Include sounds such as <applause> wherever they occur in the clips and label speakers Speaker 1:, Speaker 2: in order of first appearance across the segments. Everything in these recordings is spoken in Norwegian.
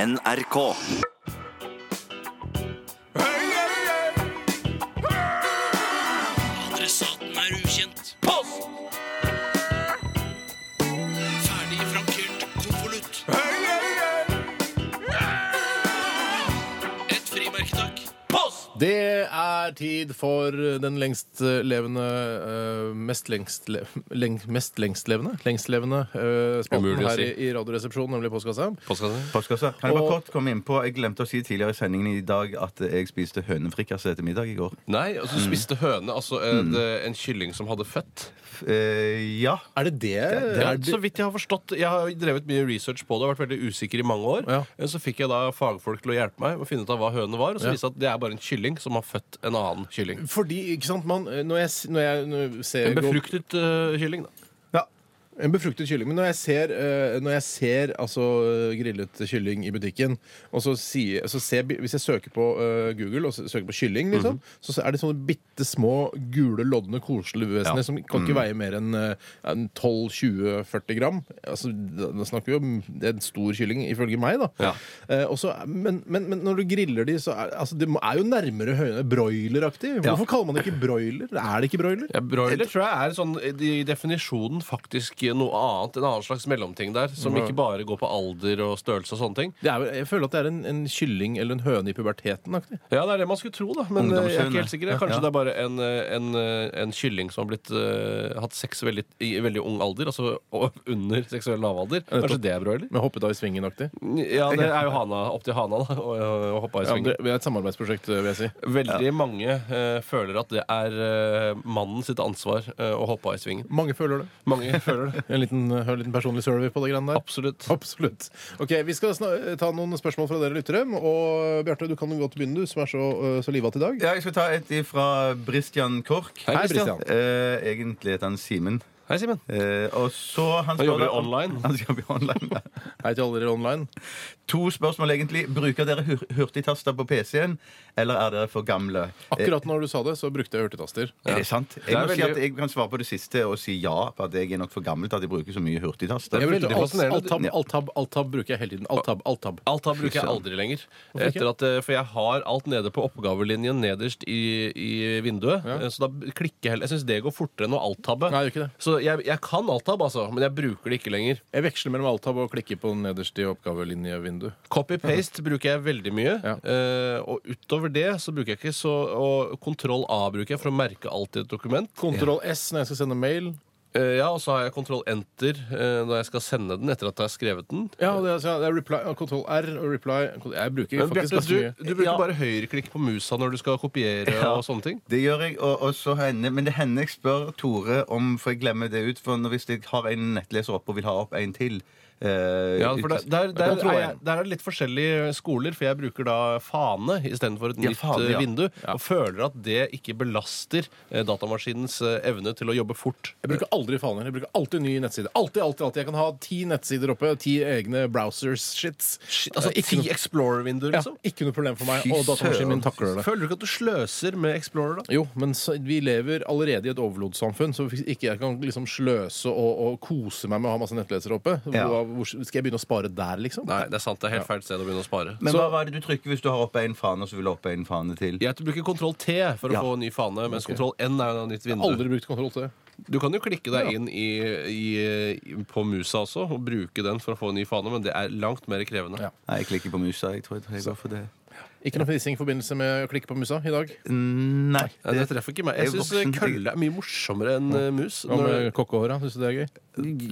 Speaker 1: NRK.
Speaker 2: Adressaten er ukjent. Post! Ferdig frankert konvolutt. Et frimerke, takk. Post!
Speaker 3: Det er tid for den lengstlevende uh, Mest lengstle, leng, Mest lengstlevende? Lengstlevende uh, spalten
Speaker 4: Umulig å
Speaker 3: her
Speaker 4: si.
Speaker 3: i, i Radioresepsjonen, nemlig Postkassa.
Speaker 5: Postkassa. Kan jeg
Speaker 3: Og-
Speaker 5: bare kort komme inn på Jeg glemte å si tidligere i sendingen i dag at jeg spiste hønefrikassé til middag i går.
Speaker 4: Nei, altså
Speaker 3: Mm.
Speaker 4: spiste høne. Altså en, en kylling som hadde født.
Speaker 5: Eh, ja.
Speaker 3: Er det det?
Speaker 4: Det
Speaker 3: er
Speaker 4: er,
Speaker 3: det-
Speaker 4: så vidt jeg har forstått Jeg har drevet mye research på det og vært veldig usikker i mange år.
Speaker 3: Ja.
Speaker 4: Eh, Så fikk jeg da fagfolk til å hjelpe meg med å finne ut av hva høne var. Og så
Speaker 3: Ja.
Speaker 4: viste det seg at det er bare en kylling som har født en annen kylling.
Speaker 3: Fordi, ikke sant, man, eh, når jeg, s- når jeg, når jeg ser
Speaker 4: En befruktet eh, kylling, da.
Speaker 3: En befruktet kylling. Men når jeg ser, eh, når jeg ser altså, eh, grillet kylling i butikken, og så sier, så ser, bi- hvis jeg søker på eh, Google og s- søker på kylling, liksom, så er det sånne bitte små gule, lodne, koselige vesener
Speaker 5: Ja.
Speaker 3: som kan ikke veie mer enn eh, en 12-20-40 gram. Altså, da da snakker vi om det er en stor kylling, ifølge meg. da.
Speaker 4: Ja.
Speaker 3: Eh, og så- men, men, men når du griller de, så er altså, det må- er jo nærmere høne broileraktig. Hvorfor kaller man det ikke broiler? Er det ikke broiler?
Speaker 4: Ja, broiler tror jeg er sånn i definisjonen faktisk noe annet. En annen slags mellomting der, som ikke bare går på alder og størrelse og sånne ting.
Speaker 3: Det er, vel- jeg føler at det er en, en kylling eller en høne i puberteten. aktig.
Speaker 4: Ja, det er det man skulle tro, da. Men eh, jeg er ikke helt sikker.
Speaker 5: Ja.
Speaker 4: Kanskje
Speaker 5: Ja.
Speaker 4: det er bare en, eh, en, eh, en kylling som har blitt, eh, hatt sex veldig, i veldig ung alder, altså og <laughs> under seksuell lavalder. Kanskje det er broiler?
Speaker 3: Med hoppet av i svingen-aktig.
Speaker 4: Ja, det er jo hana, opp til hana da, og, og hoppa i
Speaker 3: Ja,
Speaker 4: svingen.
Speaker 3: det det er et samarbeidsprosjekt, vil jeg si.
Speaker 4: Veldig mange eh, føler at det er eh, mannen sitt ansvar eh, å hoppe av i svingen.
Speaker 3: Mange føler det.
Speaker 4: Mange føler det.
Speaker 3: En liten, eh, en liten personlig survey på det greiene der.
Speaker 4: Absolutt.
Speaker 3: Absolutt. Ok, Vi skal sna- ta noen spørsmål fra dere lyttere. Og eh, Bjarte, du kan jo godt begynne, du som er så, øh, så livat i dag.
Speaker 5: ja. Jeg skal ta et fra Bristian Kork.
Speaker 4: Hei, Christian.
Speaker 3: Christian.
Speaker 5: Eh, egentlig heter han Simen.
Speaker 4: Hei, Simen.
Speaker 5: Eh, og så Han,
Speaker 4: Han
Speaker 5: spør
Speaker 4: jobber
Speaker 5: da-
Speaker 4: online.
Speaker 5: Han jobber online.
Speaker 3: Hei til alle dere online.
Speaker 5: To spørsmål, egentlig. Bruker dere hur hurtigtaster på PC-en, eller er dere for gamle?
Speaker 3: Akkurat når du sa det, så brukte jeg hurtigtaster.
Speaker 5: Eh, Er det sant? Jeg
Speaker 4: Det er
Speaker 5: må si
Speaker 4: veldig-
Speaker 5: at jeg kan svare på det siste og si ja. på at Jeg er nok for gammel til at jeg bruker så mye hurtigtaster.
Speaker 4: Jeg veldig
Speaker 3: alt,
Speaker 4: fascinerende.
Speaker 3: alt, tab, alt, tab, alt tab bruker jeg hele tiden. Alt tab, alt tab.
Speaker 4: Alt her bruker jeg aldri lenger.
Speaker 3: Hvorfor ikke?
Speaker 4: Etter at, eh, for jeg har alt nede på oppgavelinjen nederst i, i vinduet. eh, Så da b- klikker jeg heller. Jeg syns det går fortere enn å alt-tabbe.
Speaker 3: Nei, det gjør ikke det.
Speaker 4: Så jeg, jeg kan alt-tab, altså, men jeg bruker det ikke lenger.
Speaker 3: Jeg veksler mellom alt tab og klikker på nederst i oppgavelinjevindu.
Speaker 4: Copy-paste bruker jeg veldig mye.
Speaker 3: Ja.
Speaker 4: eh, og utover det så bruker jeg ikke så Og kontroll-A bruker jeg for å merke alt i et dokument.
Speaker 3: Kontroll S når jeg skal sende mail.
Speaker 4: Eh, ja, Og så har jeg kontroll-enter eh, når jeg skal sende den etter at jeg har skrevet den.
Speaker 3: Ja, det er, altså, det er reply, Kontroll R og reply Jeg bruker
Speaker 4: Men
Speaker 3: faktisk
Speaker 4: Bjarte,
Speaker 3: ganske
Speaker 4: du,
Speaker 3: mye.
Speaker 4: du bruker bare høyreklikk på musa når du skal kopiere og sånne ting.
Speaker 5: Det gjør jeg, og og så henne, men det hender jeg spør Tore om, for jeg glemmer det ut. For når- hvis jeg har en nettleser opp og vil ha opp en til eh,
Speaker 4: Ja, for der,
Speaker 5: ut-
Speaker 4: der, der,
Speaker 5: Kontroll
Speaker 4: er,
Speaker 5: en.
Speaker 4: jeg- der er det litt forskjellige skoler, for jeg bruker da fane istedenfor et nytt
Speaker 5: fane,
Speaker 4: eh,
Speaker 5: ja.
Speaker 4: vindu. Og føler at det ikke belaster eh, datamaskinens eh, evne til å jobbe fort.
Speaker 3: Jeg bruker aldri faner. Jeg bruker alltid ny nettside. Alltid, alltid, alltid. Jeg kan ha ti nettsider oppe, ti egne browsers-shits.
Speaker 4: Altså
Speaker 3: Eh, ikke,
Speaker 4: ti
Speaker 3: noe-
Speaker 4: Explorer-vinduer,
Speaker 3: ja,
Speaker 4: liksom.
Speaker 3: ikke noe problem for meg,
Speaker 5: Fy
Speaker 3: og datamaskinen min
Speaker 5: søren.
Speaker 3: takler det.
Speaker 4: Føler du ikke at du sløser med Explorer, da?
Speaker 3: Jo, men så, vi lever allerede i et overflodssamfunn, så hvis ikke jeg kan liksom sløse og, og kose meg med å ha masse nettlesere oppe,
Speaker 5: Ja.
Speaker 3: hvor, hvor skal jeg begynne å spare der, liksom?
Speaker 4: Nei, det er sant. Det er helt feil sted å begynne å spare.
Speaker 5: Men hva var det du trykker hvis du har opp en fane, og så vil du ha opp en fane til?
Speaker 4: Jeg bruker kontroll T for å
Speaker 5: Ja.
Speaker 4: få ny fane, mens kontroll N er jo da nytt
Speaker 3: Jeg
Speaker 4: vindu.
Speaker 3: har Aldri brukt kontroll til det.
Speaker 4: Du kan jo klikke deg inn i, i, i, på musa også og bruke den for å få en ny fane, men det er langt mer krevende.
Speaker 3: Ja.
Speaker 5: Nei, jeg klikker på musa. Jeg tror jeg, jeg går for det.
Speaker 3: Ikke noe fnissing i forbindelse med å klikke på musa i dag.
Speaker 5: Nei.
Speaker 4: Ja, det treffer ikke meg. Jeg
Speaker 5: Jeg er
Speaker 4: syns
Speaker 5: voksen.
Speaker 4: kølle er mye morsommere enn eh, mus.
Speaker 3: Hva
Speaker 4: Når,
Speaker 3: med kokkehåra? Syns du det er gøy?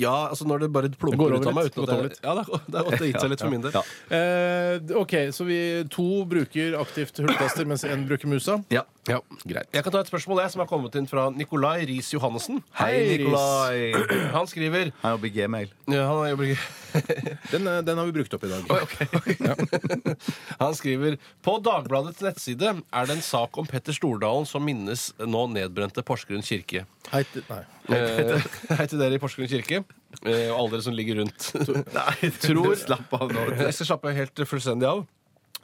Speaker 4: ja, altså når det bare
Speaker 3: Det går
Speaker 4: plumper ut
Speaker 3: over
Speaker 4: av meg
Speaker 3: litt,
Speaker 4: uten
Speaker 3: gått
Speaker 4: at
Speaker 3: over
Speaker 4: jeg, Ja, det har- det har gått- det har gitt seg litt for min del.
Speaker 5: Ja.
Speaker 3: Eh, OK, så vi to bruker aktivt hulltaster, mens én bruker musa.
Speaker 5: Ja.
Speaker 4: Ja. Jeg kan ta et spørsmål jeg, som er kommet inn fra Nikolai Riis Johannessen.
Speaker 5: Hei, Nikolai.
Speaker 4: <clears throat> Han skriver
Speaker 5: Han jobber i gmail.
Speaker 4: ja, han, jobber ikke-
Speaker 3: <laughs> Den, eh, den har vi brukt opp i dag.
Speaker 4: <laughs> han skriver På Dagbladets nettside er det en sak om Petter Stordalen som minnes nå nedbrente Porsgrunn kirke.
Speaker 3: Hei til, nei.
Speaker 4: Eh, Hei til dere i Porsgrunn kirke, eh, og alle dere som ligger rundt.
Speaker 5: <laughs> Nei,
Speaker 4: Tror-
Speaker 5: Slapp av nå.
Speaker 4: <laughs> Jeg skal slappe helt fullstendig av.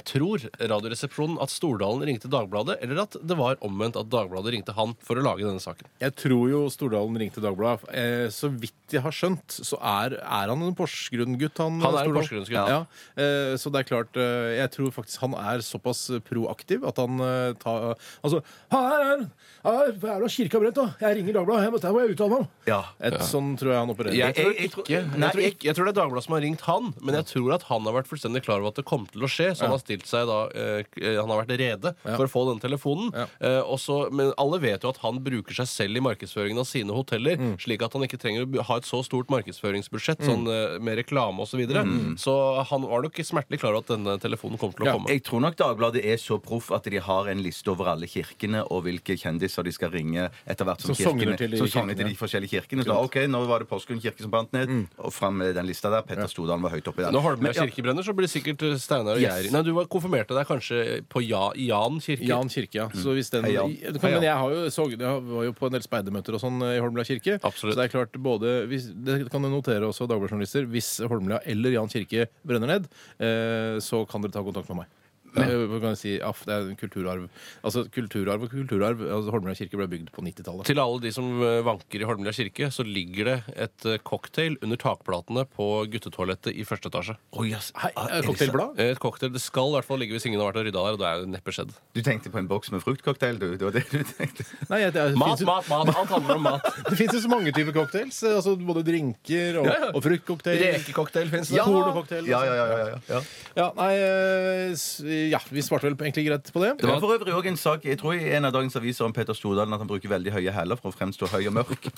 Speaker 4: Tror Radioresepsjonen at Stordalen ringte Dagbladet, eller at det var omvendt at Dagbladet ringte han for å lage denne saken?
Speaker 3: Jeg tror jo Stordalen ringte Dagbladet. Eh, så vidt jeg har skjønt, så er, er han en Porsgrunn-gutt. Han,
Speaker 4: Han er en
Speaker 3: Stordalen.
Speaker 4: Porsgrunn-gutt.
Speaker 3: Ja. Eh, så det er klart eh, Jeg tror faktisk han er såpass proaktiv at han eh, tar Altså Her er her er det kirka brent, da! Jeg ringer Dagbladet. Jeg må, der må jeg uttale meg om!
Speaker 5: Ja.
Speaker 3: Et, Sånn tror jeg han opererer.
Speaker 4: Jeg tror,
Speaker 5: Jeg- jeg
Speaker 4: ikke,
Speaker 5: tror-
Speaker 4: jeg,
Speaker 5: nei,
Speaker 4: tror ikke, jeg tror det er Dagbladet som har ringt han, men jeg tror at han har vært fullstendig klar over at det kom til å skje. Så han har stilt seg da eh, k- eh, Han har vært rede for å få den telefonen. Eh, og så- men alle vet jo at han bruker seg selv i markedsføringen av sine hoteller, slik at han ikke trenger å bu- ha et så stort markedsføringsbudsjett sånn, eh, med reklame osv. Så, videre så han var nok smertelig klar over at denne telefonen kom til å
Speaker 3: Ja,
Speaker 4: komme.
Speaker 5: Jeg tror nok Dagbladet er så proff at de har en liste over alle kirkene og hvilke kjendiser de skal ringe etter hvert som,
Speaker 3: Som sogner
Speaker 5: kirkene,
Speaker 3: til de
Speaker 5: som sogner til
Speaker 3: kirkene.
Speaker 5: de forskjellige kirkene. Så, ok, nå var det Porsgrunn kirke som brant
Speaker 4: Mm.
Speaker 5: ned, og fram med den lista der. Petter Stordalen var høyt oppi der.
Speaker 4: Når Holmlia
Speaker 5: Men, ja,
Speaker 4: kirkebrenner, så blir det sikkert eh, Steinar og
Speaker 5: Yes.
Speaker 4: Gjerri Nei, du var konfirmerte deg kanskje på ja, Jan kirke?
Speaker 3: Jan kirke, ja. Så hvis den,
Speaker 5: Hei, Jan.
Speaker 3: I- det kan- Men jeg, har jo, så, jeg var jo på en del speidermøter og sånn eh, i Holmlia kirke.
Speaker 4: Absolutt.
Speaker 3: Så det er klart både hvis, Det kan du notere også, Dagbladet-journalister. Hvis Holmlia eller Jan kirke brenner ned, eh, så kan dere ta kontakt med meg. Eh, Hva kan jeg si, aff, det er en kulturarv. Altså, kulturarv og kulturarv. Altså, Holmlia kirke ble bygd på 90-tallet.
Speaker 4: <laughs> Til alle de som eh, vanker i Holmlia kirke, så ligger det et eh, cocktail under takplatene på guttetoalettet i første etasje.
Speaker 5: Oi, ass.
Speaker 3: Hei,
Speaker 5: Ah,
Speaker 3: eh,
Speaker 5: er det
Speaker 3: cocktailblad?
Speaker 4: Eh, Et cocktail, Det skal i hvert fall ligge hvis ingen har vært og rydda der, og det er jo neppe skjedd.
Speaker 5: sant? Du tenkte på en boks med fruktcocktail, du. Det var det du tenkte.
Speaker 3: Nei, jeg- det,
Speaker 4: Mat,
Speaker 3: finnes jo-
Speaker 4: mat, mat! Alt handler om mat.
Speaker 3: <laughs> det fins jo så mange typer cocktails. eh, Altså, både drinker og, og fruktcocktail.
Speaker 4: Rekecocktail fins
Speaker 3: Ja!
Speaker 4: det.
Speaker 3: Pornococktail.
Speaker 5: Ja, ja, ja, ja, ja. ja.
Speaker 3: Ja, nei, eh, s- ja, vi svarte vel egentlig greit på det.
Speaker 5: Det var for øvrig også en sak jeg tror i en av dagens aviser om Petter Stordalen at han bruker veldig høye hæler for å fremstå høy og mørk.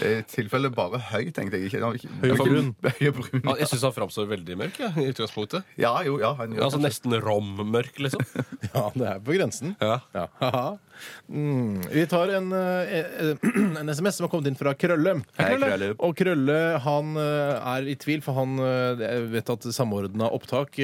Speaker 5: I tilfelle bare høy, tenkte jeg. ikke. Han var ikke-
Speaker 3: Høy og brun.
Speaker 5: <laughs> Høy og brun.
Speaker 4: <laughs> Ja, Jeg syns han framstår veldig mørk. Ja, i utgangspunktet
Speaker 5: Ja, jo, ja, han gjør
Speaker 4: Altså Nesten rommørk, liksom.
Speaker 3: <laughs> Ja, det er på grensen.
Speaker 4: Ja.
Speaker 3: Ja, haha. Mm. Vi tar en, eh, <clears throat> eh, en SMS som har kommet inn fra Krølle.
Speaker 5: Hei, Krølle.
Speaker 3: Og Krølle han eh, er i tvil, for han eh, jeg vet at samordna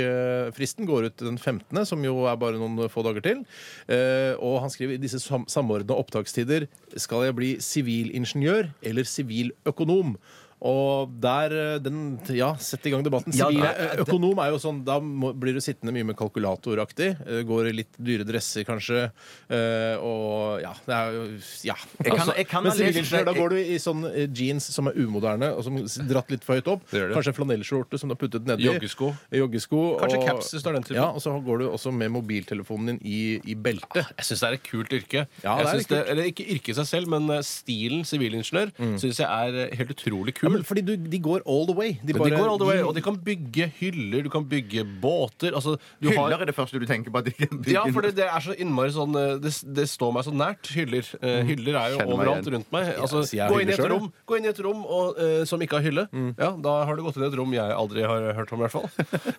Speaker 3: opptak-fristen går ut den 15., som jo er bare noen få dager til. Eh, Og han skriver i disse sam samordna opptakstider skal jeg bli sivilingeniør eller siviløkonom. Og der eh, den, Ja, sett i gang debatten.
Speaker 5: Ja,
Speaker 3: Sivil,
Speaker 5: nei,
Speaker 3: eh,
Speaker 5: det-
Speaker 3: Økonom er jo sånn, da må, blir du sittende mye med kalkulatoraktig. eh, Går i litt dyre dresser, kanskje. eh, og ja, det er jo Ja. Altså,
Speaker 5: Jeg kan- jeg kan
Speaker 3: men
Speaker 5: ha lest-
Speaker 3: sivilingeniør, da går du i sånn eh, jeans som er umoderne, og som s- dratt litt for høyt opp.
Speaker 4: Det gjør det.
Speaker 3: Kanskje en flanellskjorte som du har puttet nedi.
Speaker 4: Joggesko.
Speaker 3: Joggesko,
Speaker 4: Kanskje
Speaker 3: og-
Speaker 4: caps hvis du er den typen.
Speaker 3: Ja, og så går du også med mobiltelefonen din i, i beltet.
Speaker 4: Jeg syns det er et kult yrke.
Speaker 3: Ja, det
Speaker 4: jeg
Speaker 3: er
Speaker 4: synes
Speaker 3: litt kult.
Speaker 4: eller Ikke yrket i seg selv, men eh, stilen sivilingeniør syns jeg er eh, helt utrolig kul.
Speaker 3: Ja, men fordi du, de går all the way. De,
Speaker 4: de går all the way, og de kan bygge hyller, du kan bygge båter altså, du har-
Speaker 5: Hyller er det første du tenker på. At de kan bygge
Speaker 4: Ja, for
Speaker 5: en-
Speaker 4: det, det er så innmari sånn eh, det, det står meg så nært. Hyller Eh, Hyller er jo
Speaker 5: Mm. Kjenner meg
Speaker 4: overalt
Speaker 5: igjen.
Speaker 4: rundt meg. Altså,
Speaker 3: så jeg er
Speaker 4: gå, inn i et
Speaker 3: hyller selv,
Speaker 4: rom, gå inn i et rom og, eh, som ikke har hylle.
Speaker 5: Mm.
Speaker 4: Ja, Da har du gått inn i et rom jeg aldri har hørt om, i hvert
Speaker 5: <laughs>
Speaker 4: fall.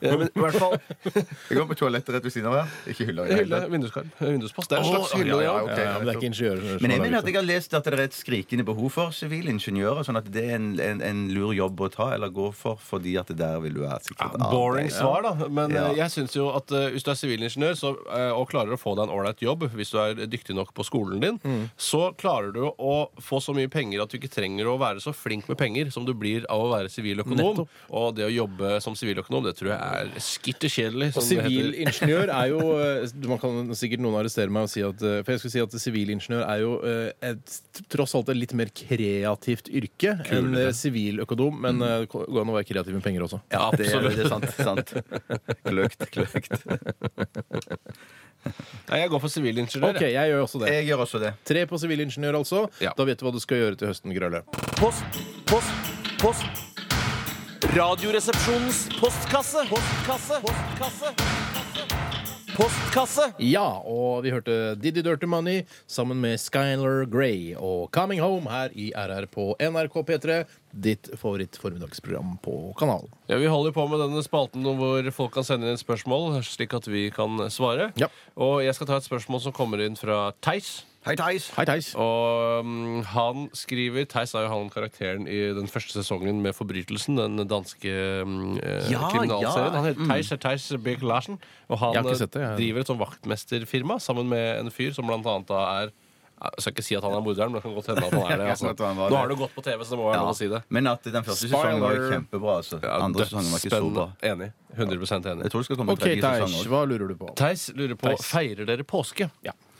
Speaker 4: Eh, men i hvert fall
Speaker 5: Jeg går på toalettet rett ved siden av her. Ikke hyller. i det hele
Speaker 4: hylle,
Speaker 5: tatt.
Speaker 4: vinduskarm, eh, vinduspass. Det er en
Speaker 5: Å,
Speaker 4: slags hylle.
Speaker 5: ja, ja,
Speaker 4: ja.
Speaker 5: ok.
Speaker 3: ja, men det er ikke ingeniører. som
Speaker 4: Sånn
Speaker 5: Men jeg
Speaker 3: har
Speaker 5: mener at
Speaker 3: laget
Speaker 5: jeg har lest at det er et skrikende behov for sivilingeniører. Sånn at det er en, en, en lur jobb å ta eller gå for, fordi at det der vil du være sikkert arbeid.
Speaker 4: Boring svar, da. Men
Speaker 5: Ja.
Speaker 4: eh, jeg syns jo at eh, hvis du er sivilingeniør så, eh, og klarer å få deg en ålreit jobb, hvis du er dyktig nok på skolen din,
Speaker 5: Mm.
Speaker 4: så klarer du å få så mye penger at du ikke trenger å være så flink med penger som du blir av å være siviløkonom. Og det å jobbe som siviløkonom, det tror jeg er skitterkjedelig.
Speaker 3: Og
Speaker 4: som det heter.
Speaker 3: sivilingeniør er
Speaker 4: <laughs>
Speaker 3: jo eh, Man kan sikkert noen arrestere meg og si at eh, For jeg skulle si at sivilingeniør er jo eh, et, tross alt et litt mer kreativt yrke enn eh, siviløkonom, men
Speaker 4: Mm.
Speaker 3: eh, det går an å være kreativ med penger også. <laughs>
Speaker 5: Ja, det, er- det er sant. sant. Kløkt, kløkt.
Speaker 4: Nei, jeg går for sivilingeniør. Eh.
Speaker 3: OK, jeg gjør også det.
Speaker 5: Jeg gjør også det.
Speaker 3: Tre på sivilingeniør, altså.
Speaker 4: Ja.
Speaker 3: Da vet du hva du skal gjøre til høsten, Grølle.
Speaker 1: Post, post, post. Radioresepsjonens postkasse. Postkasse. Postkasse. Postkasse.
Speaker 3: Ja, og vi hørte Didi Dirty Money sammen med Skylar Grey og Coming Home her i RR på NRK P3, ditt favoritt-formiddagsprogram på kanalen.
Speaker 4: Ja, Vi holder på med denne spalten nå hvor folk kan sende inn spørsmål, slik at vi kan svare.
Speaker 3: Ja.
Speaker 4: Og jeg skal ta et spørsmål som kommer inn fra Theis.
Speaker 5: Hei, Theis.
Speaker 3: Hei, Theis.
Speaker 4: Og mm, han skriver Theis er jo han karakteren i den første sesongen med Forbrytelsen. Den danske mm, eh,
Speaker 5: Ja,
Speaker 4: kriminalserien.
Speaker 5: ja. Mm.
Speaker 4: Han heter Theis er Theis Birk Larsen. Og han
Speaker 3: Jeg har ikke
Speaker 4: eh,
Speaker 3: sett det, jeg.
Speaker 4: driver et sånn vaktmesterfirma sammen med en fyr som blant annet da er Jeg skal ikke si at han er morderen, men det kan godt hende at han er det. Altså.
Speaker 5: <laughs> Jeg vet hva han var,
Speaker 4: Nå
Speaker 5: det.
Speaker 4: har det gått på TV, så det må være lov å si det.
Speaker 5: Men at den første sesongen var kjempebra. Altså. Andre sesongen var ikke så bra.
Speaker 4: Dødsspennende. Enig. 100 enig.
Speaker 5: Jeg tror det skal komme en
Speaker 3: OK,
Speaker 5: tredje sesong
Speaker 3: Teish,
Speaker 5: sånn også.
Speaker 3: hva lurer du på?
Speaker 4: Theis lurer på feirer dere påske.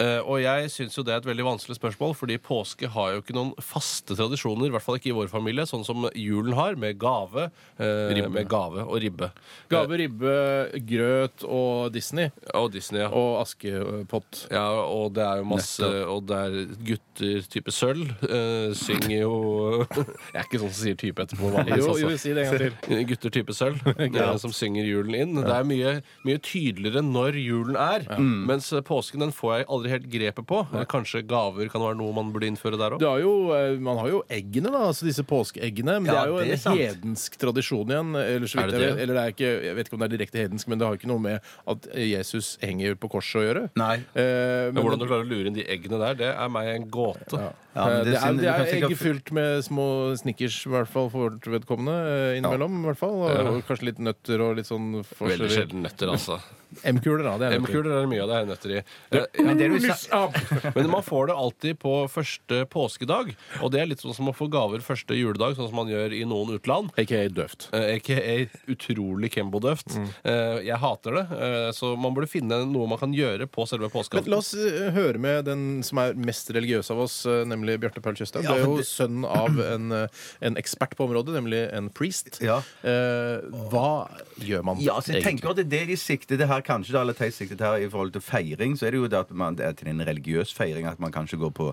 Speaker 4: Eh, og jeg syns jo det er et veldig vanskelig spørsmål, fordi påske har jo ikke noen faste tradisjoner, i hvert fall ikke i vår familie, sånn som julen har, med gave, eh, med gave og ribbe.
Speaker 3: Gave, ribbe, grøt og eh, Disney.
Speaker 4: Eh, og Disney, ja.
Speaker 3: Og askepott.
Speaker 4: ja. Og det er jo masse Og det er gutter type sølv. eh, synger jo
Speaker 3: <laughs>
Speaker 4: Jeg er ikke sånn som sier type etterpå. vanligvis,
Speaker 3: Jo,
Speaker 4: altså.
Speaker 3: jo, si det en gang til.
Speaker 4: Gutter type
Speaker 3: <laughs>
Speaker 4: sølv eh, som synger julen inn. Det er mye, mye tydeligere når julen er. Mens eh, påsken den får jeg aldri helt grepet på. Kanskje gaver kan være noe man burde innføre der òg.
Speaker 3: Det er jo, eh, man har jo eggene, da, altså disse påskeeggene. Men
Speaker 5: Ja,
Speaker 3: det er jo
Speaker 5: det er
Speaker 3: en
Speaker 5: sant.
Speaker 3: hedensk tradisjon igjen. Eller, så
Speaker 4: Er
Speaker 3: vidt, jeg
Speaker 4: det det?
Speaker 3: vet- eller det er ikke, jeg vet ikke om det er direkte hedensk, men det har ikke noe med at Jesus henger på korset å gjøre.
Speaker 5: Nei.
Speaker 3: Eh, men,
Speaker 4: Hvordan du klarer å lure inn de eggene der, det er meg en gåte.
Speaker 5: Ja, men
Speaker 3: eh, det, er,
Speaker 5: synd-
Speaker 3: det
Speaker 5: du kan
Speaker 3: er
Speaker 5: sikkert-
Speaker 3: egg fylt med små snickers, i hvert fall for vårt vedkommende. eh, Innimellom, i hvert fall. Og, og kanskje litt nøtter og litt sånn
Speaker 4: Veldig
Speaker 3: forskjellig.
Speaker 4: sjelden nøtter,
Speaker 3: <laughs>
Speaker 4: altså.
Speaker 3: M-kuler, da. Det er nøtter.
Speaker 4: M-kuler er det mye av det er nøtter i. Eh, ja.
Speaker 5: det du
Speaker 3: Lys av!
Speaker 4: <laughs> Men man får det alltid på første påskedag, og det er litt sånn som å få gaver første juledag, sånn som man gjør i noen utland.
Speaker 3: AKA døvt.
Speaker 4: Eh, AKA utrolig Kembo-døvt. Eh, jeg hater det, eh, så man burde finne noe man kan gjøre på selve
Speaker 3: Men
Speaker 4: påskeaften.
Speaker 3: la oss eh, høre med den som er mest religiøs av oss, eh, nemlig Bjarte Paul Tjøstheim. Du er jo sønn av en, eh, en ekspert på området, nemlig en priest.
Speaker 5: Ja.
Speaker 3: Eh, hva gjør man
Speaker 5: Ja, så jeg tenker at det er det de sikter det her, kanskje det aller teist siktet her i forhold til feiring, så er det jo det at man det er til en religiøs feiring, at man kanskje går, på,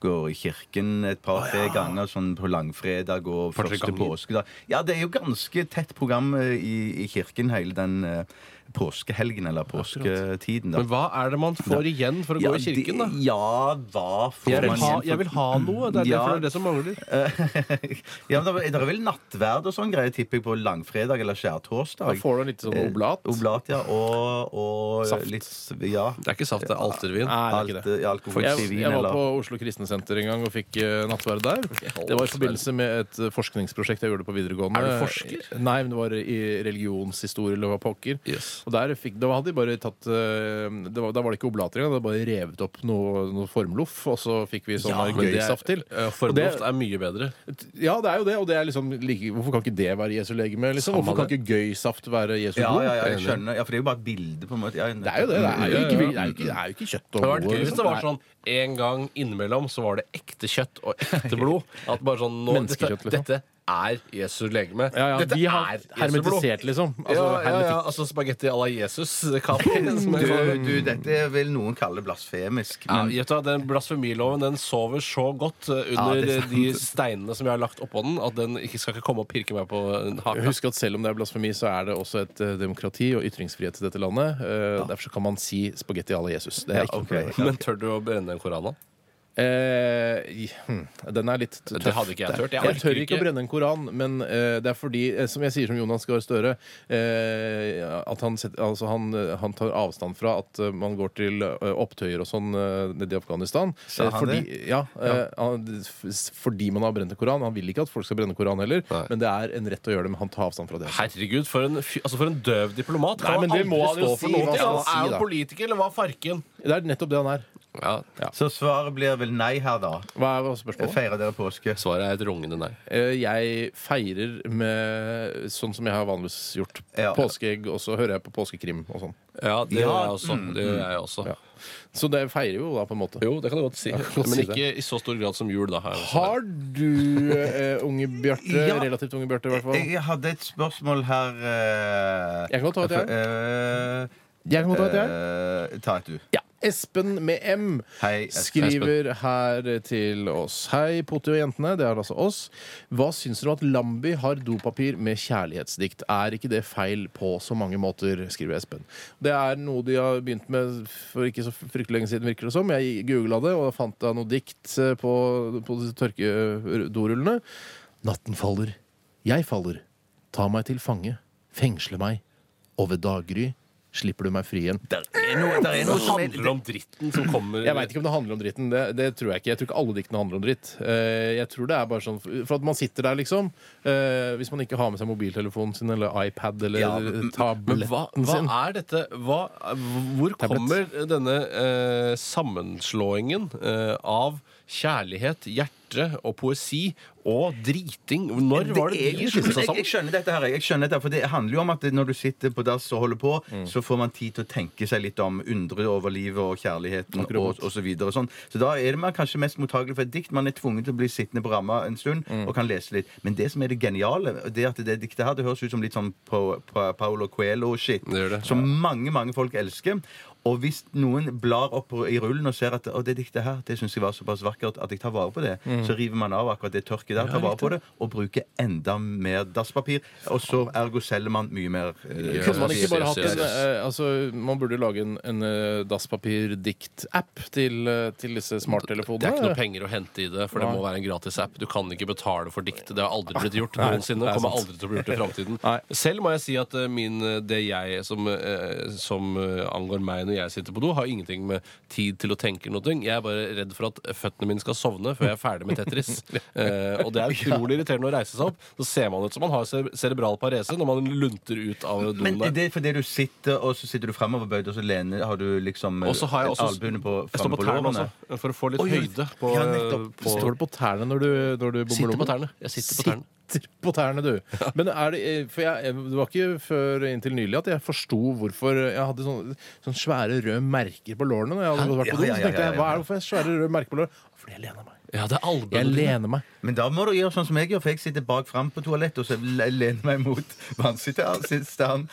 Speaker 5: går i kirken et par-tre ganger, sånn på langfredag og
Speaker 4: Par-tre
Speaker 5: første
Speaker 4: ganger.
Speaker 5: påskedag. Ja, det er jo ganske tett program eh, i, i kirken hele den eh, påskehelgen, eller påsketiden, da.
Speaker 4: Men hva er det man får igjen for å gå i kirken, da?
Speaker 5: det- Ja, hva får
Speaker 4: Jeg vil,
Speaker 5: man
Speaker 4: ha,
Speaker 5: igjen for-
Speaker 4: jeg vil ha noe. Det er,
Speaker 5: Ja.
Speaker 4: derfor det er det som mangler.
Speaker 5: ja, men det er vel nattverd og sånn greier, tipper jeg, på langfredag eller skjærtorsdag.
Speaker 3: Da får du en liten sånn
Speaker 5: Eh,
Speaker 3: oblat.
Speaker 5: Oblat, ja. Og, og
Speaker 3: Saft.
Speaker 5: litt Ja.
Speaker 4: Det er ikke saft, det er
Speaker 3: Nei,
Speaker 4: altervin.
Speaker 3: det er
Speaker 5: alt,
Speaker 3: ikke det.
Speaker 5: eh, Alkoholfri
Speaker 3: Jeg,
Speaker 5: vin,
Speaker 3: jeg var
Speaker 5: eller
Speaker 3: på Oslo Kristne Senter en gang og fikk eh, nattverd der. Det var i forbindelse med et eh, forskningsprosjekt jeg gjorde på videregående.
Speaker 4: Er du forsker?
Speaker 3: Nei, men det var i religionshistorie eller hva pokker.
Speaker 4: Yes.
Speaker 3: Og der fikk, da hadde de bare tatt eh, det var, Da var det ikke oblater engang, da hadde de bare revet opp noe, noe formloff, og så fikk vi sånn
Speaker 4: Men det
Speaker 3: gøy
Speaker 4: er-
Speaker 3: saft til.
Speaker 4: eh,
Speaker 3: Og det-
Speaker 4: Formloft er mye bedre.
Speaker 3: Ja, det er jo det, og det er liksom like, Hvorfor kan ikke det være Jesu legeme? Liksom?
Speaker 4: Samme
Speaker 3: Hvorfor kan
Speaker 4: det.
Speaker 3: ikke gøy saft være Jesu
Speaker 5: Ja,
Speaker 3: blod?
Speaker 5: ja, ja, jeg skjønner. Ja, for det er jo bare et bilde, på en måte. Ja,
Speaker 3: Det er jo det. Det er jo
Speaker 4: Ja, ja,
Speaker 3: ikke, det
Speaker 4: ja.
Speaker 3: er jo ikke, det er jo ikke kjøtt og
Speaker 4: Det hadde vært gøy
Speaker 3: blod,
Speaker 4: hvis det var
Speaker 3: liksom.
Speaker 4: sånn en gang innimellom så var det ekte kjøtt og
Speaker 3: <laughs>
Speaker 4: ekte blod. At bare sånn nå, dette,
Speaker 3: Menneskekjøtt, liksom.
Speaker 4: dette er Jesu legeme.
Speaker 3: ja, ja,
Speaker 4: dette
Speaker 3: De har
Speaker 4: Jesu blod.
Speaker 3: hermetisert, liksom. Altså,
Speaker 4: ja, ja, ja,
Speaker 3: hermetikk.
Speaker 4: altså spagetti à la Jesus. det kan
Speaker 3: <laughs>
Speaker 4: være, som er sånn-
Speaker 5: Du, du, dette vil noen kalle blasfemisk.
Speaker 4: Ja,
Speaker 3: Mm.
Speaker 5: Men
Speaker 4: vet du hva, den Blasfemiloven den sover så godt eh,
Speaker 5: Ja,
Speaker 4: under
Speaker 5: det er
Speaker 4: eh,
Speaker 5: sant.
Speaker 4: de <laughs> steinene som jeg har lagt oppå den, at den ikke skal ikke komme og pirke meg på eh, haka.
Speaker 3: Husk at selv om det er blasfemi, så er det også et eh, demokrati og ytringsfrihet i dette landet. Eh, Derfor så kan man si spagetti à la Jesus. Det er ikke noe
Speaker 5: ok.
Speaker 3: problem.
Speaker 4: Men tør du å brenne en koran? da?
Speaker 3: Eh, i- hm, den er litt tøff.
Speaker 4: Det hadde ikke jeg tørt. Jeg
Speaker 3: Jeg tør
Speaker 4: orker
Speaker 3: ikke å brenne en koran, men eh, det er fordi, eh, som jeg sier som Jonas Gahr Støre, eh, at han, set, altså han, eh, han tar avstand fra at eh, man går til eh, opptøyer og sånn eh, nede i Afghanistan.
Speaker 5: Sa
Speaker 3: Eh,
Speaker 5: han
Speaker 3: fordi,
Speaker 5: det?
Speaker 3: Ja, eh, han, f- fordi man har brent en koran. Han vil ikke at folk skal brenne koran heller,
Speaker 4: Nei.
Speaker 3: men det er en rett å gjøre det, men han tar avstand fra det.
Speaker 4: Herregud, for en, fy- altså for en døv diplomat.
Speaker 3: Nei,
Speaker 4: Kan
Speaker 3: men det
Speaker 4: aldri
Speaker 3: må han jo
Speaker 4: stå for
Speaker 3: si,
Speaker 4: noe
Speaker 3: hva
Speaker 4: til.
Speaker 3: skal han si,
Speaker 4: Han er
Speaker 3: da?
Speaker 4: jo politiker, eller hva er farken?
Speaker 3: Det er nettopp det han er.
Speaker 5: så svaret blir vel nei her, da.
Speaker 3: Hva er spørsmålet?
Speaker 5: Feirer dere påske?
Speaker 4: Svaret er et rungende nei.
Speaker 3: Eh, Jeg feirer med sånn som jeg har vanligvis gjort.
Speaker 5: Ja.
Speaker 3: Påskeegg, og så hører jeg på påskekrim og sånn.
Speaker 4: Ja, det
Speaker 5: Ja,
Speaker 4: gjør jeg også. Det gjør jeg også.
Speaker 3: Ja. Så det feirer jo da, på en måte.
Speaker 4: Jo, det kan du godt si.
Speaker 3: kan godt
Speaker 4: Men
Speaker 3: si det.
Speaker 4: ikke i så stor grad som jul, da. Her.
Speaker 3: Har du, eh, unge Bjarte,
Speaker 5: Ja.
Speaker 3: relativt unge Bjarte i hvert fall
Speaker 5: Jeg hadde et spørsmål her eh,
Speaker 3: Jeg kan godt ta et, jeg.
Speaker 5: eh,
Speaker 3: Jeg kan godt ta et, jeg.
Speaker 5: eh, Ta et, du.
Speaker 3: Ja. Espen med M
Speaker 5: Hei, Espen.
Speaker 3: skriver her til oss. Hei, Potti og jentene. Det er altså oss. Hva syns dere om at Lambi har dopapir med kjærlighetsdikt? Er ikke det feil på så mange måter? skriver Espen. Det er noe de har begynt med for ikke så fryktelig lenge siden, virker det som. Jeg googla det, og fant da noe dikt eh, på, på disse tørkedorullene. Natten faller, jeg faller. Ta meg til fange, fengsle meg. Og ved daggry slipper du meg fri igjen.
Speaker 5: Der er noe, der er noe som er
Speaker 4: handler om dritten som kommer
Speaker 3: Jeg veit ikke om det handler om dritten. Det, det tror jeg ikke. Jeg tror ikke alle diktene handler om dritt. Eh, Jeg tror det er bare sånn For at man sitter der, liksom. eh, Hvis man ikke har med seg mobiltelefonen sin eller iPad eller
Speaker 5: Ja, men-
Speaker 4: Eh, Men hva,
Speaker 3: tabletten
Speaker 4: hva
Speaker 3: sin.
Speaker 4: er dette hva, Hvor kommer denne eh, sammenslåingen eh, av kjærlighet, hjerte og poesi og driting? Når var det de
Speaker 5: jeg,
Speaker 4: slo seg
Speaker 5: jeg, jeg
Speaker 4: sammen?
Speaker 5: skjønner dette her, jeg jeg skjønner dette, her, for det handler jo om at når du sitter på dass og holder på,
Speaker 4: Mm.
Speaker 5: så får man tid til å tenke seg litt om, undre over livet og kjærligheten og, og så videre og sånn. Så da er det man kanskje mest mottagelig for et dikt. Man er tvunget til å bli sittende på ramma en stund
Speaker 4: Mm.
Speaker 5: og kan lese litt. Men det som er det geniale, det er at det diktet her, det høres ut som litt sånn Pa- Pa- Paolo Coelho-shit,
Speaker 4: Det gjør det.
Speaker 5: som mange, mange folk elsker. Og hvis noen blar opp i rullen og ser at å, det diktet her det synes jeg var såpass vakkert at jeg tar vare på det,
Speaker 4: Mm.
Speaker 5: så river man av akkurat det tørket der, tar vare på det, og bruker enda mer dasspapir. Og så ergo selger man mye mer. eh,
Speaker 4: Ja,
Speaker 3: Kunne man ikke bare
Speaker 4: yes,
Speaker 3: hatt
Speaker 4: yes,
Speaker 3: en eh, Altså, man burde lage en, en eh, dasspapirdikt-app til, eh, til disse
Speaker 4: Det er ikke noe
Speaker 3: smarttelefonene.
Speaker 4: penger å hente i det, for det må være en gratis app. Du kan ikke betale for dikt. Det har aldri blitt gjort
Speaker 3: Nei,
Speaker 4: noensinne.
Speaker 3: det er
Speaker 4: Kommer
Speaker 3: sant.
Speaker 4: aldri til å bli gjort i framtiden.
Speaker 3: Nei.
Speaker 4: Selv må jeg si at eh, min, eh, det jeg som, eh, som eh, angår meg når jeg sitter på do, har ingenting med tid til å tenke eller noe. Jeg er bare redd for at føttene mine skal sovne før jeg er ferdig med <laughs> Tetris. Eh, og det er utrolig irriterende å reise seg opp. Så ser man ut som man har cere- cerebral parese når man lunter ut av doen
Speaker 5: Men er
Speaker 4: der.
Speaker 5: det fordi du sitter, og så sitter du framoverbøyd, og så lener har du liksom eh,
Speaker 4: Og så har jeg også
Speaker 5: albuene på
Speaker 4: Jeg står på
Speaker 5: fremme på
Speaker 4: tærne
Speaker 5: lårene?
Speaker 4: også, for å få litt
Speaker 5: Oi,
Speaker 4: høyde på,
Speaker 5: ja, nettopp.
Speaker 4: på
Speaker 3: Står du på tærne når du, når du bommer
Speaker 4: Sitter på
Speaker 3: lommen?
Speaker 4: tærne. Jeg sitter på tærne.
Speaker 3: Sitter på tærne, du. Men er det, eh, for jeg, det var ikke før inntil nylig at jeg forsto hvorfor jeg hadde sånne, sånne svære røde merker på lårene. Når jeg hadde vært på do,
Speaker 5: Ja, ja,
Speaker 3: så
Speaker 5: ja,
Speaker 3: tenkte
Speaker 5: ja,
Speaker 3: jeg,
Speaker 5: ja.
Speaker 3: Hva er det hvorfor jeg har svære røde merker på lårene? Fordi jeg lener meg.
Speaker 4: Ja, det er albuene.
Speaker 3: Jeg lener meg.
Speaker 5: Men da må du gjøre sånn som jeg gjør, for jeg sitter bak fram på toalettet og så le- lener meg mot vannsitteren,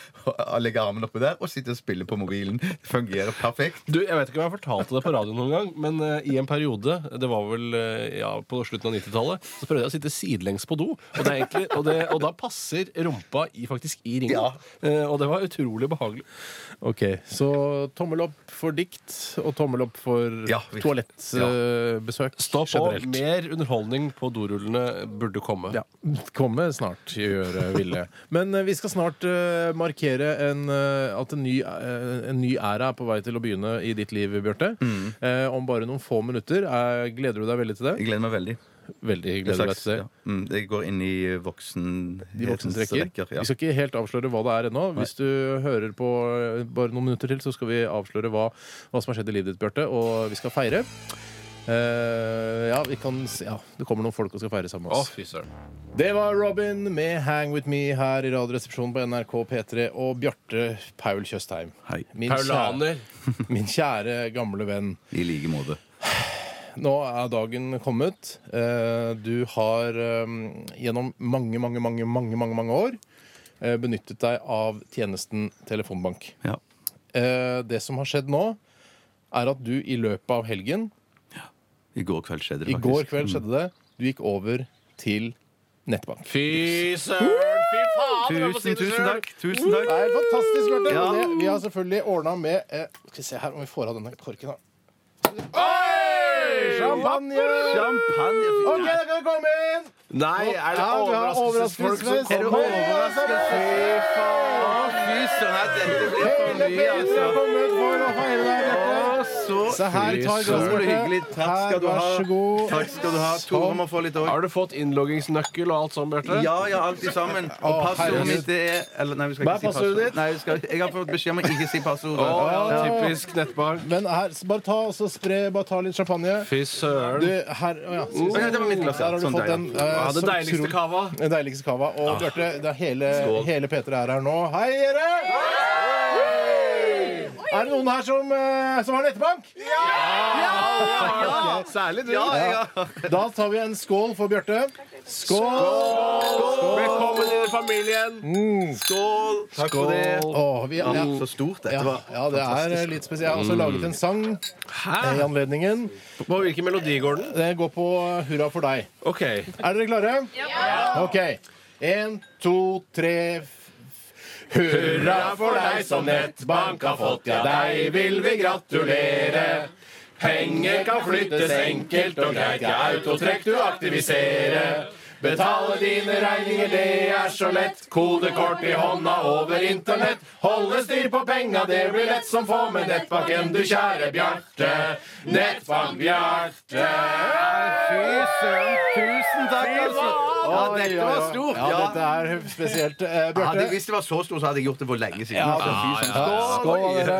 Speaker 5: legger armen oppå der og sitter og spiller på mobilen. Fungerer perfekt.
Speaker 4: Du, Jeg vet ikke om jeg fortalte det på radioen noen gang, men eh, i en periode, det var vel eh, ja, på slutten av 90-tallet, så prøvde jeg å sitte sidelengs på do. Og, det er egentlig, og, det, og da passer rumpa i, faktisk i ringen.
Speaker 5: Ja.
Speaker 4: Eh, og det var utrolig behagelig.
Speaker 3: Ok, Så tommel opp for dikt, og tommel opp for
Speaker 5: Ja, vi-
Speaker 3: toalettbesøk
Speaker 4: Stå på.
Speaker 3: generelt.
Speaker 4: Mer underholdning på dorullene burde komme.
Speaker 3: Ja. Komme snart, gjøre ville. Men eh, vi skal snart eh, markere en, eh, at en ny, eh, en ny æra er på vei til å begynne i ditt liv, Bjarte. Eh, om bare noen få minutter. Eh, gleder du deg veldig til det?
Speaker 5: Mm. Jeg gleder meg veldig.
Speaker 3: Veldig gleder du deg
Speaker 5: Slags,
Speaker 3: til det.
Speaker 5: ja. mm, jeg går inn i voksenhetens
Speaker 3: De voksne trekker.
Speaker 5: Ja.
Speaker 3: Vi skal ikke helt avsløre hva det er ennå. Hvis du hører på eh, bare noen minutter til, så skal vi avsløre hva, hva som har skjedd i livet ditt, Bjarte. Og vi skal feire. Eh, ja, vi kan, s- ja, det kommer noen folk og skal feire sammen med
Speaker 4: Å,
Speaker 3: oss.
Speaker 4: fy søren.
Speaker 3: Det var Robin med Hang With Me her i Radioresepsjonen på NRK P3 og Bjarte Paul Tjøstheim.
Speaker 5: Hei.
Speaker 3: Min kjære,
Speaker 4: Paulaner.
Speaker 3: <laughs> min kjære gamle venn.
Speaker 5: I like måte.
Speaker 3: Nå er dagen kommet. Eh, Du har eh, gjennom mange, mange, mange, mange, mange, mange år eh, benyttet deg av tjenesten Telefonbank.
Speaker 5: Ja.
Speaker 3: Eh, Det som har skjedd nå, er at du i løpet av helgen,
Speaker 5: I går kveld skjedde det
Speaker 3: i
Speaker 5: faktisk. Mm.
Speaker 3: går kveld skjedde det, du gikk over til nettbank.
Speaker 4: Fy søren! Fy faen! jeg må si det
Speaker 5: Tusen, Mm. tusen
Speaker 4: selv.
Speaker 5: takk. Tusen
Speaker 3: Det
Speaker 5: takk.
Speaker 3: er fantastisk, Bjarte.
Speaker 5: Ja.
Speaker 3: Og det- Vi har selvfølgelig ordna med eh, Skal vi se her om vi får av denne korken. da. Champagne!
Speaker 5: Champagne.
Speaker 3: OK, da kan du komme inn!
Speaker 4: Nei, er det
Speaker 3: Ja, vi har
Speaker 4: overraskelsesfolk som
Speaker 3: overraskelsesfest.
Speaker 4: kommer?
Speaker 3: Overraskelse.
Speaker 5: Å, fy søren, dette blir for
Speaker 3: Hele
Speaker 5: mye,
Speaker 3: P3 har
Speaker 5: altså.
Speaker 3: kommet for å feire deg, Bjarte.
Speaker 5: Å, så
Speaker 3: Se her,
Speaker 5: fy
Speaker 3: ta et glass,
Speaker 5: søren.
Speaker 3: Bjarte.
Speaker 5: hyggelig. Takk skal
Speaker 3: Her,
Speaker 5: du ha.
Speaker 3: vær så god.
Speaker 5: Takk skal du ha. Tore må få litt òg.
Speaker 4: Har du fått innloggingsnøkkel og alt sånt, Bjarte?
Speaker 5: Ja, ja, alt i sammen.
Speaker 3: Å,
Speaker 5: Og passordet
Speaker 3: herregud.
Speaker 5: mitt det er eller, Nei, vi skal
Speaker 3: Hva er
Speaker 5: ikke
Speaker 3: passordet
Speaker 5: si passordet.
Speaker 3: ditt?
Speaker 5: Nei, vi skal, jeg har fått beskjed om å ikke si passordet.
Speaker 4: Å, ja,
Speaker 3: Ja.
Speaker 4: typisk nettbank.
Speaker 3: Men her, så bare ta og så spre Bare ta litt champagne.
Speaker 4: Fy
Speaker 3: Du,
Speaker 4: søren.
Speaker 3: her, å ja, skal vi se.
Speaker 5: Å, ja, Mm. det var mitt glass, ja.
Speaker 3: Der har du
Speaker 5: Sånn
Speaker 3: fått
Speaker 5: der, ja.
Speaker 3: den.
Speaker 4: Ja,
Speaker 3: eh,
Speaker 4: det
Speaker 3: som
Speaker 4: deiligste
Speaker 3: utrolig-
Speaker 4: kava. Ah.
Speaker 3: Den deiligste kava. Og Bjarte, det er hele, hele P3 er her nå. Hei, dere! Er det noen her som, eh, som har nettbank? Ja!
Speaker 4: Særlig du.
Speaker 3: Da tar vi en skål for Bjarte. Skål!
Speaker 4: Velkommen i familien.
Speaker 5: Skål! Takk for det.
Speaker 3: Åh, vi, ja,
Speaker 5: Ja,
Speaker 4: Mm.
Speaker 5: så stort dette
Speaker 3: ja,
Speaker 5: var.
Speaker 3: ja, det er litt spesielt. Jeg har også laget en sang eh, i
Speaker 4: Hæ?
Speaker 3: anledningen.
Speaker 4: På hvilken melodi går den?
Speaker 3: Det går på Hurra for deg.
Speaker 4: OK.
Speaker 3: Er dere klare? Ja! OK. Én, to, tre f- Hurra for deg som nettbank har fått, ja, deg vil vi gratulere. Penger kan flyttes enkelt og greit, ja, autotrekk du aktivisere.
Speaker 6: Betale dine regninger, det er så lett. Kodekort i hånda over internett. Holde styr på penga, det blir lett som få med nettbanken, du kjære Bjarte. Nettbank Bjarte.
Speaker 5: Tusen takk, altså! Ja, dette var stort.
Speaker 3: Ja,
Speaker 5: Ja,
Speaker 3: dette er spesielt. Eh,
Speaker 5: Hadde jeg
Speaker 3: Bjarte,
Speaker 5: visst det var så stort, så hadde jeg gjort det for lenge siden.
Speaker 3: Ja,
Speaker 5: Altså, fy søren.
Speaker 3: skål,
Speaker 5: Skål!
Speaker 3: dere.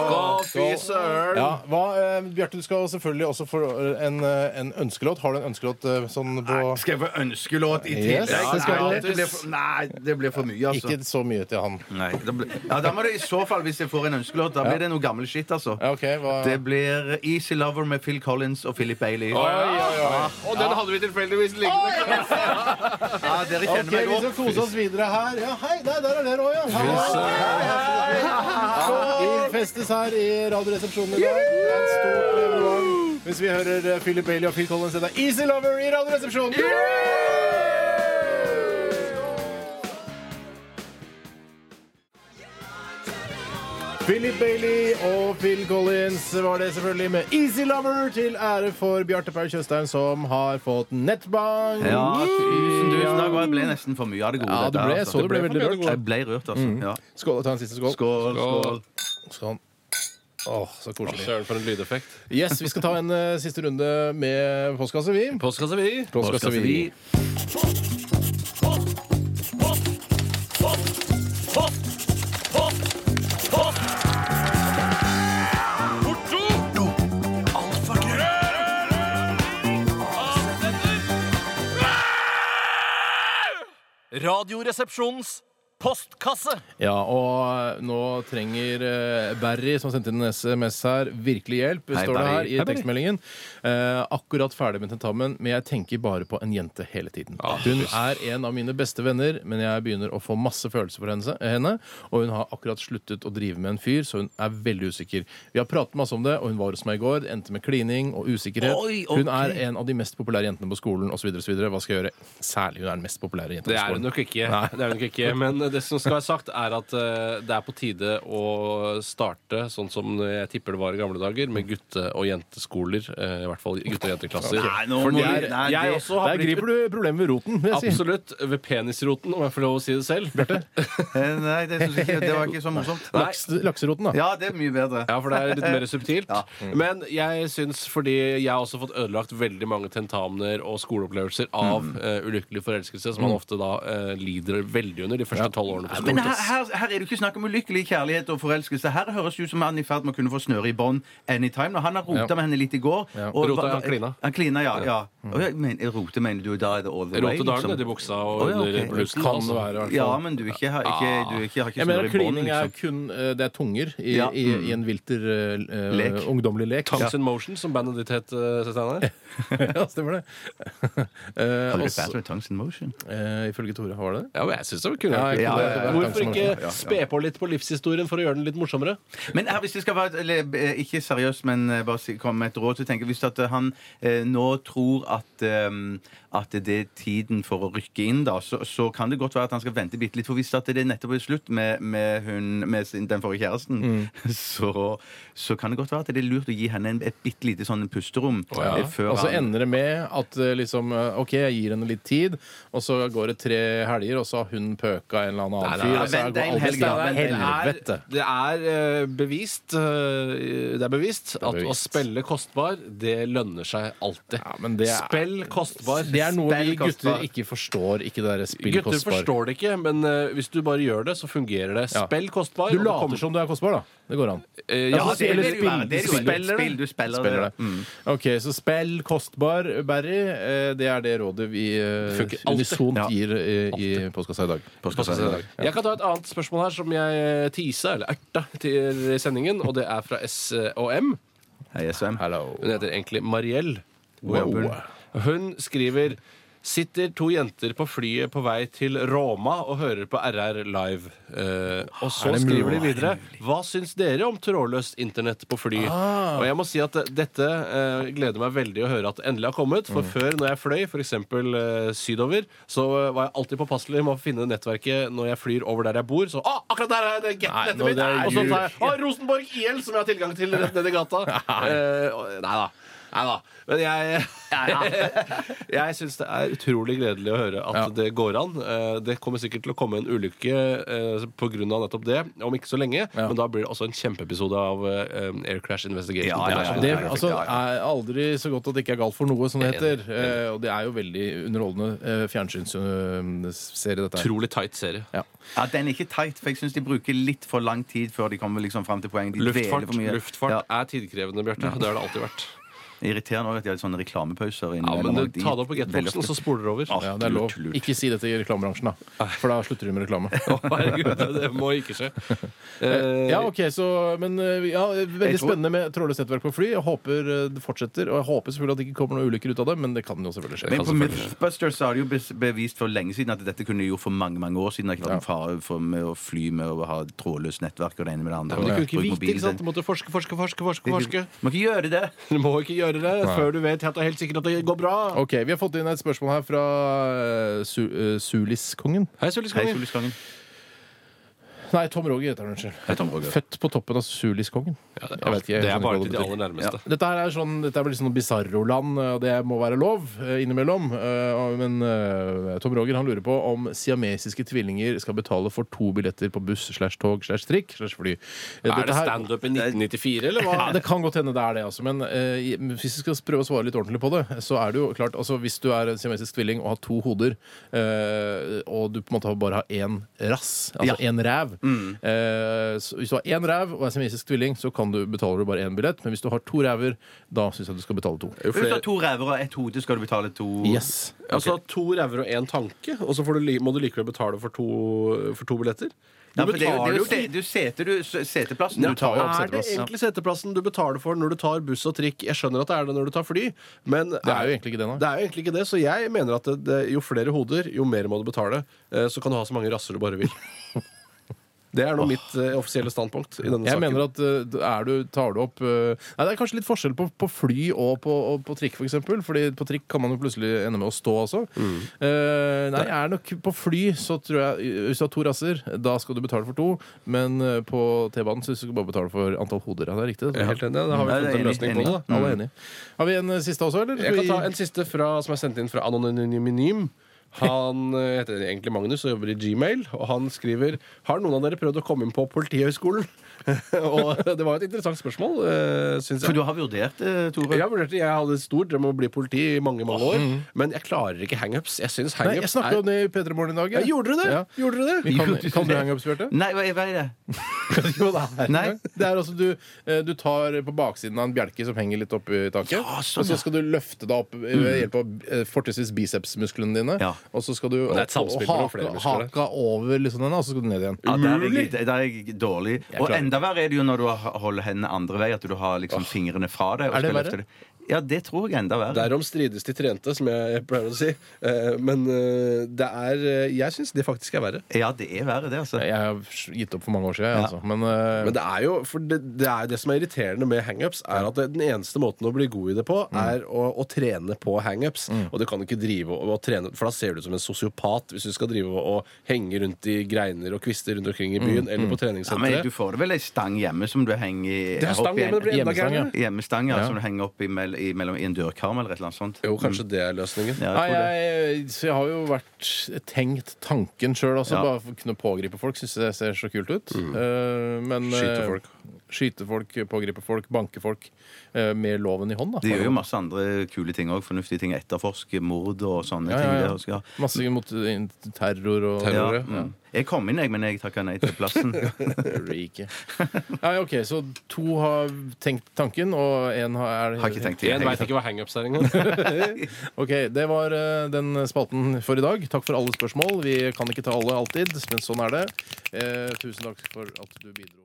Speaker 4: Skål, fy søren!
Speaker 3: Ja, hva, eh, Bjarte, du skal selvfølgelig også få en, eh, en ønskelåt. Har du en ønskelåt eh, sånn på
Speaker 5: Skal jeg få ønskelåt i
Speaker 3: Yes,
Speaker 5: tillegg?
Speaker 3: det skal
Speaker 5: Nei,
Speaker 3: du.
Speaker 5: det blir for- nei, det blir for mye, altså.
Speaker 3: Ikke så mye til han.
Speaker 5: Nei, da blir- ja, da må det i så fall, hvis jeg får en ønskelåt, da blir det noe gammel shit, altså.
Speaker 3: Ja, ok, hva...
Speaker 5: Det blir Easy Lover med Phil Collins og Philip Bailey.
Speaker 4: Og den hadde vi tilfeldigvis liggende.
Speaker 5: Ja, dere kjenner
Speaker 3: Ok, vi
Speaker 5: meg
Speaker 3: skal
Speaker 5: godt.
Speaker 3: kose oss videre her. Ja, hei, der, der er dere òg, ja. Hei, hei, hei. Vi festes her i Radioresepsjonen i dag. Det er en stor evenement. Hvis vi hører eh, Philip Bailey og Phil Collins, det er Easy Lover i Radioresepsjonen. Philip Bailey og Phil Collins var det selvfølgelig med Easy Lover til ære for Bjarte Paul Tjøstheim, som har fått nettbank.
Speaker 5: Ja, tusen, tusen takk. Og jeg ble nesten for mye av det gode.
Speaker 3: Mm. Ja,
Speaker 5: dette
Speaker 3: du ble-
Speaker 5: her,
Speaker 3: jeg
Speaker 5: altså.
Speaker 3: så du ble
Speaker 5: Det
Speaker 3: veldig
Speaker 5: for mye av det
Speaker 3: rørt.
Speaker 5: gode. Jeg ble rørt, altså. Ja.
Speaker 3: Skål, ta en siste skål.
Speaker 5: Skål, skål.
Speaker 3: Sånn. Åh, så koselig.
Speaker 4: Søren, for en lydeffekt.
Speaker 3: Yes, Vi skal ta en eh, siste runde med postkasse, vi.
Speaker 4: Postkasse, vi.
Speaker 3: Postkasse, vi.
Speaker 1: Radioresepsjonens postkasse.
Speaker 3: Ja, og nå trenger eh, Barry, som sendte inn en SMS her, virkelig hjelp,
Speaker 5: Hei,
Speaker 3: står det her
Speaker 5: Barry.
Speaker 3: i tekstmeldingen. Eh, akkurat ferdig med tentamen, men jeg tenker bare på en jente hele tiden.
Speaker 5: Ah,
Speaker 3: Hun er en av mine beste venner, men jeg begynner å få masse følelser for henne, henne, og hun har akkurat sluttet å drive med en fyr, så hun er veldig usikker. Vi har pratet masse om det, og hun var hos meg i går. Det endte med klining og usikkerhet.
Speaker 5: Oi,
Speaker 3: Hun er
Speaker 5: ok.
Speaker 3: en av de mest populære jentene på skolen, osv. Hva skal jeg gjøre? Særlig hun er den mest populære jenta
Speaker 4: Det
Speaker 3: på
Speaker 4: er det
Speaker 3: skolen.
Speaker 4: nok ikke. Det er det nok ikke. Men eh, det som skal være sagt, er at eh, det er på tide å starte sånn som jeg tipper det var i gamle dager, med gutte- og jenteskoler. eh, I hvert fall gutte- og jenteklasser.
Speaker 5: Nei, nå
Speaker 4: For
Speaker 5: må
Speaker 4: det er-
Speaker 5: vi- nei,
Speaker 4: jeg
Speaker 5: det-
Speaker 4: også har
Speaker 3: Der
Speaker 4: blitt
Speaker 3: griper du problemet ved roten. vil jeg si.
Speaker 4: Absolutt. Ved penisroten, om jeg får lov å si det selv.
Speaker 5: Eh, Nei, det, synes jeg ikke, det var ikke så morsomt.
Speaker 4: Nei.
Speaker 3: Laks, lakseroten, da.
Speaker 5: Ja, det er mye bedre.
Speaker 4: Ja, for det er litt mer subtilt.
Speaker 5: <laughs> Mm.
Speaker 4: Men jeg syns, fordi jeg har også fått ødelagt veldig mange tentamener og skoleopplevelser av
Speaker 5: Mm.
Speaker 4: eh, ulykkelig forelskelse, som man ofte da eh, lider veldig under de første tolv årene på
Speaker 5: Men
Speaker 4: skolen.
Speaker 5: her, her, her er det jo ikke snakk om ulykkelig kjærlighet og forelskelse. Her høres det ut som han er i ferd med å kunne få snøre i bånd anytime. Og han har rota
Speaker 3: Ja.
Speaker 5: med henne litt i går. og
Speaker 4: Rota,
Speaker 5: ba-
Speaker 4: han klina.
Speaker 5: Han klina, ja. ja. Og jeg men, rote, mener du da er det all the way?
Speaker 4: Rote dagen
Speaker 5: liksom?
Speaker 4: nedi buksa og
Speaker 5: Å, ja,
Speaker 4: under
Speaker 5: ok.
Speaker 4: blusen.
Speaker 3: Kan
Speaker 4: altså.
Speaker 3: det være, i hvert fall.
Speaker 5: Ja, men du ikke, har ikke, du ikke, har ikke
Speaker 3: Jeg mener
Speaker 5: snøre
Speaker 3: at
Speaker 5: i bånd,
Speaker 3: klining er
Speaker 5: liksom.
Speaker 3: kun eh, Det er tunger i,
Speaker 5: Ja.
Speaker 3: i, i en vilter eh,
Speaker 5: Lek.
Speaker 3: eh, ungdommelig lek.
Speaker 4: Tongues in Motion, som bandet ditt het, eh,
Speaker 3: <laughs>
Speaker 4: Steinar.
Speaker 3: ja, stemmer det. <laughs> Eh,
Speaker 5: Har du
Speaker 3: også,
Speaker 5: Battle of Tongues in Motion?
Speaker 3: eh, ifølge Tore, har det det?
Speaker 4: Ja, men jeg syns det kunne
Speaker 3: Ja,
Speaker 4: vært
Speaker 3: jeg
Speaker 4: kult.
Speaker 5: kunne- ja, ja,
Speaker 4: Hvorfor
Speaker 3: Tongues in
Speaker 4: ikke
Speaker 5: Motion, ja, ja.
Speaker 4: spe på litt på livshistorien for å gjøre den litt morsommere?
Speaker 5: Men her, hvis det skal være eller, eh, Ikke seriøst, men eh, bare si- komme med et råd. Så tenker jeg Hvis at eh, han eh, nå tror at, eh, at det er tiden for å rykke inn, da, så, så kan det godt være at han skal vente bitte litt. For hvis at det nettopp er slutt med, med, hun, med sin, den forrige kjæresten,
Speaker 4: Mm.
Speaker 5: <laughs> så, så kan det godt være at det er lurt å gi henne en, et bitte lite sånn pusterom. eh, Før
Speaker 3: Og
Speaker 4: Altså,
Speaker 3: så
Speaker 5: han
Speaker 3: ender det med at eh, liksom eh, OK, jeg gir henne litt tid, og så går det tre helger, og så har hun pøka en eller annen
Speaker 4: Nei,
Speaker 3: annen
Speaker 4: nei,
Speaker 3: fyr.
Speaker 4: nei,
Speaker 3: og så
Speaker 5: vent
Speaker 3: går
Speaker 5: en
Speaker 3: alt-
Speaker 5: helg, da,
Speaker 3: Steinar,
Speaker 5: vent en
Speaker 4: Det
Speaker 3: Helvete!
Speaker 4: er, det er eh, bevist eh, Det er bevist at å
Speaker 3: bevist.
Speaker 4: spille kostbar, det lønner seg alltid.
Speaker 3: Ja, men det er-
Speaker 4: Spill kostbar.
Speaker 3: Det er noe vi
Speaker 5: Spill kostbar.
Speaker 3: gutter ikke forstår, ikke det derre spill
Speaker 4: Gutter
Speaker 3: kostbar.
Speaker 4: forstår det ikke, men eh, hvis du bare gjør det, så fungerer det.
Speaker 3: Ja.
Speaker 4: Spill kostbar.
Speaker 3: Du
Speaker 4: og det kommer-
Speaker 3: later som du er kostbar, da. Det går an.
Speaker 4: Eh,
Speaker 3: Ja,
Speaker 4: ja,
Speaker 3: så
Speaker 4: det
Speaker 3: spiller
Speaker 4: vil
Speaker 5: det jo være.
Speaker 4: spill-
Speaker 5: Det er jo et
Speaker 4: spiller det.
Speaker 5: spill, du spiller,
Speaker 3: Spiller
Speaker 5: det.
Speaker 3: det. Mm. OK, så spill kostbar, Barry. eh, Det er det rådet vi eh,
Speaker 4: Funker alltid.
Speaker 3: unisont
Speaker 5: Ja.
Speaker 3: gir eh, i postkassa i dag.
Speaker 5: Postkassa i dag.
Speaker 4: Jeg kan ta et annet spørsmål her som jeg tisa, eller erta, til sendingen. Og det er fra eh, S&M.
Speaker 5: Mm. Hei, SVM.
Speaker 3: Hello.
Speaker 4: Hun heter egentlig Mariell.
Speaker 5: Wow.
Speaker 4: Hun skriver Sitter to jenter på flyet på vei til Roma og hører på RR live. Eh, og så
Speaker 3: Er det
Speaker 4: skriver de
Speaker 3: mulig?
Speaker 4: videre Hva syns dere om trådløst internett på fly?
Speaker 3: Ah.
Speaker 4: Og jeg må si at eh, dette eh, gleder meg veldig å høre at det endelig har
Speaker 3: Mm.
Speaker 4: kommet. For før, når jeg fløy f.eks. Eh, sydover, så eh, var jeg alltid påpasselig med å finne nettverket når jeg flyr over der jeg bor. Så ah, akkurat der er det
Speaker 3: Nei,
Speaker 4: gettet
Speaker 3: nå,
Speaker 4: mitt!
Speaker 3: det er
Speaker 4: Og så
Speaker 3: jul. <laughs>
Speaker 4: tar jeg ah, Rosenborg IL, som jeg har tilgang til rett nedi gata. Eh, og- nei da. Nei da.
Speaker 3: <laughs>
Speaker 4: Men jeg, jeg syns det er utrolig gledelig å høre at
Speaker 3: Ja.
Speaker 4: det går an. Eh, Det kommer sikkert til å komme en ulykke eh, pga. nettopp det, om ikke så lenge.
Speaker 3: Ja.
Speaker 4: Men da blir det også en kjempeepisode av eh, Air Crash Investigation. sånn
Speaker 2: Ja, ja, ja, ja.
Speaker 3: Det altså, er aldri så godt at det ikke er galt for noe, som det heter. Eh, og det er jo veldig underholdende eh, fjernsynsserie, dette her.
Speaker 4: Utrolig tight serie.
Speaker 3: Ja.
Speaker 5: Ja, Den er ikke tight, for jeg syns de bruker litt for lang tid før de kommer liksom fram til poenget. De dveler
Speaker 4: Luftfart,
Speaker 5: for mye.
Speaker 4: luftfart
Speaker 5: Ja,
Speaker 4: er tidkrevende, Bjarte. Det har det alltid vært.
Speaker 5: irriterende også at de har sånne reklamepauser.
Speaker 4: Ja,
Speaker 5: innimellom,
Speaker 4: men
Speaker 5: og
Speaker 4: du, Ta det opp på
Speaker 5: veldig
Speaker 4: Getboxen,
Speaker 5: ofte-
Speaker 4: og så spoler det over.
Speaker 3: Ja, det er lov. Ikke si dette i reklamebransjen, da. For da slutter de med reklame.
Speaker 4: Å, Herregud, det- det må ikke skje. Eh,
Speaker 3: Ja, ok, så, men eh, ja, Veldig
Speaker 5: tror-
Speaker 3: spennende med trådløst nettverk på fly. Jeg håper eh, det fortsetter. Og jeg håper selvfølgelig at det ikke kommer noen ulykker ut av det, men det kan jo selvfølgelig skje.
Speaker 5: Men på Mythbusters så har de jo bes- bevist for lenge siden at dette kunne de gjort for mange mange år siden. Det har ikke vært en fare for med å fly med å ha trådløst nettverk og det ene med det andre.
Speaker 4: Men du kunne ikke
Speaker 5: Bruke
Speaker 4: vite,
Speaker 5: mobilen
Speaker 4: ikke sant? Du
Speaker 5: sin.
Speaker 4: måtte forske, forske, forske. forske, forske.
Speaker 5: Må ikke gjøre det!
Speaker 4: <laughs> Du må ikke gjøre det før du vet at det er helt sikkert at det går bra.
Speaker 3: Ok, Vi har fått inn et spørsmål her fra eh, Su eh, Suliskongen.
Speaker 4: Hei,
Speaker 5: Hei,
Speaker 4: Soliskongen.
Speaker 5: Soliskongen.
Speaker 3: Nei, Tom Roger heter han. Unnskyld.
Speaker 5: Hei, Tom Roger.
Speaker 3: Født på toppen av Suliskongen.
Speaker 4: Ja,
Speaker 3: Jeg vet ikke, jeg
Speaker 4: det er
Speaker 3: skjønner ikke hva
Speaker 4: bare til
Speaker 3: det
Speaker 4: de
Speaker 3: betyr.
Speaker 4: aller nærmeste.
Speaker 3: Dette her er sånn, dette blir sånn bizarroland, og det må være lov eh, innimellom. Eh, og- Men eh, Tom Roger han lurer på om siamesiske tvillinger skal betale for to billetter på buss slash tog slash trikk slash fly. Eh, dette
Speaker 4: Er det
Speaker 3: her-
Speaker 4: standup i 1994, eller
Speaker 3: Ja,
Speaker 4: hva?
Speaker 3: det kan godt hende det er det, altså. Men eh, hvis vi skal prøve å svare litt ordentlig på det, så er det jo klart altså, Hvis du er en siamesisk tvilling og har to hoder, eh, og du på en måte bare har én rass, altså én ræv eh, så Hvis du har én ræv og er siamesisk tvilling, så kan du, betaler du bare én billett. Men hvis du har to ræver, da syns jeg du skal betale to.
Speaker 4: Jo
Speaker 5: Hvis du har
Speaker 4: flere-
Speaker 5: to ræver og ett hode, skal du betale to
Speaker 3: Yes.
Speaker 4: Altså to ræver og én tanke, og så får du, li- må du likevel betale for to, for to billetter? Du
Speaker 5: Ja, for det er jo, det er jo,
Speaker 4: betaler
Speaker 5: det, det er jo sete, du, s- seteplassen du tar jo opp.
Speaker 4: Er det
Speaker 5: seteplass.
Speaker 4: egentlig seteplassen du betaler for når du tar buss og trikk? Jeg skjønner at det er det når du tar fly, men
Speaker 3: Det er jo egentlig ikke det, nei.
Speaker 4: Det er jo egentlig ikke det, så jeg mener at det, det, jo flere hoder, jo mer må du betale. Eh, Så kan du ha så mange rasser du
Speaker 3: <laughs>
Speaker 4: bare vil. Det er nå mitt eh, offisielle standpunkt i denne
Speaker 3: Jeg
Speaker 4: saken.
Speaker 3: mener at eh, er du, tar du opp eh, Nei, det er kanskje litt forskjell på, på fly og på, og på trikk, for eksempel. Fordi på trikk kan man jo plutselig ende med å stå også.
Speaker 4: Mm.
Speaker 3: Eh, nei, jeg er nok på fly, så tror jeg Hvis du har to rasser, da skal du betale for to. Men eh, på T-banen syns du skal bare betale for antall hoder. Ja, det er riktig.
Speaker 4: Jeg er helt enig. Da har vi
Speaker 5: Nei,
Speaker 4: funnet
Speaker 5: det er
Speaker 4: en løsning på
Speaker 5: enig.
Speaker 4: det. da.
Speaker 3: Alle er enige. Har vi en eh, siste også, eller?
Speaker 4: Jeg kan ta
Speaker 3: Skal vi-
Speaker 4: en siste fra, som er sendt inn fra Anonyminim. Han eh, heter egentlig Magnus og jobber i Gmail, og han skriver Har noen av dere prøvd å komme inn på Politihøgskolen? og det var et interessant spørsmål, eh, syns
Speaker 5: For
Speaker 4: jeg.
Speaker 5: du har vurdert det, Tore?
Speaker 4: Jeg, vurderte, jeg hadde et stor drøm om å bli politi i mange mange år, men jeg klarer ikke hangups. Jeg syns
Speaker 3: Nei, jeg
Speaker 4: hangups
Speaker 3: snakka om det i P3 Morgen i dag.
Speaker 4: Ja, Gjorde dere det?
Speaker 3: Ja.
Speaker 4: Gjorde dere
Speaker 5: <laughs>
Speaker 4: det?
Speaker 3: Vi kan, kan du hangups, Bjarte?
Speaker 5: Nei, hva hva er det?
Speaker 4: <laughs>
Speaker 3: Jo, det er
Speaker 5: Nei.
Speaker 3: Det er altså du, eh, du tar på baksiden av en bjelke som henger litt opp i taket.
Speaker 5: sånn,
Speaker 3: og så skal du løfte deg opp eh,
Speaker 4: Mm.
Speaker 3: ved hjelp av eh, fortrinnsvis bicepsmusklene dine.
Speaker 5: Ja.
Speaker 3: Og så skal du
Speaker 4: er
Speaker 3: opp,
Speaker 4: et
Speaker 3: og
Speaker 4: samspill mellom flere
Speaker 3: haka,
Speaker 4: muskler, det.
Speaker 3: haka over liksom den, og så skal du ned igjen.
Speaker 5: Ja, der er jeg, litt- der er jeg dårlig. Og
Speaker 3: klarer
Speaker 5: enda verre er det jo når du har- holder hendene andre vei, at du har liksom fingrene fra deg. Og
Speaker 3: Er det
Speaker 5: skal
Speaker 3: verre?
Speaker 5: løfte det. Ja, det tror jeg er enda verre.
Speaker 4: Derom strides de trente, som jeg pleier å si. Eh, Men eh, det er eh, Jeg syns det faktisk er verre.
Speaker 5: Ja, det er verre, det, altså.
Speaker 3: Jeg har gitt opp for mange år siden, jeg, altså. Men, eh,
Speaker 4: Men det er jo for det, det, er det som er irriterende med hangups, er at det, den eneste måten å bli god i det på, er å, å trene på hangups. Og du kan ikke drive og, og trene For da ser du ut som en sosiopat hvis du skal drive og, og henge rundt i greiner og kvister rundt omkring i byen eller på
Speaker 5: Ja, men
Speaker 4: treningssenteret.
Speaker 5: du får det vel ei stang hjemme som du henger i
Speaker 4: det er
Speaker 5: opp
Speaker 4: stang,
Speaker 5: i
Speaker 4: men
Speaker 5: en-
Speaker 4: det blir enda
Speaker 3: Hjemmestang, ja.
Speaker 4: gærnere.
Speaker 5: Hjemmestang, ja,
Speaker 3: Ja.
Speaker 5: som du henger opp i, mell i, mellom, i en dørkarm eller et eller annet sånt.
Speaker 4: Jo, kanskje det er løsningen.
Speaker 5: Ja, jeg
Speaker 3: Nei,
Speaker 5: tror det.
Speaker 3: jeg, så jeg har jo vært eh, tenkt tanken sjøl, altså.
Speaker 5: Ja.
Speaker 3: Bare for å kunne pågripe folk. Syns det ser så kult ut. Eh, men
Speaker 4: Mm. Skyte
Speaker 3: eh,
Speaker 4: folk.
Speaker 3: Skyte folk, pågripe folk, banke folk. eh, med loven i hånd, da.
Speaker 5: De gjør jo masse andre kule ting òg. Fornuftige ting. Etterforske mord og sånne
Speaker 3: Ja,
Speaker 5: ting.
Speaker 3: ja, ja.
Speaker 5: der også, ja.
Speaker 3: Masse mot eh, terror og
Speaker 5: Ja,
Speaker 4: Terror, ja.
Speaker 5: mm. Jeg kom inn, jeg, men jeg takka nei til plassen.
Speaker 3: Rike. Nei, OK, så to har tenkt tanken, og én har, er,
Speaker 5: Har ikke tenkt
Speaker 4: Én
Speaker 5: det.
Speaker 4: veit ikke hva hangups er engang.
Speaker 3: OK, det var eh, den spalten for i dag. Takk for alle spørsmål. Vi kan ikke ta alle alltid, men sånn er det. Eh, tusen takk for at du bidro.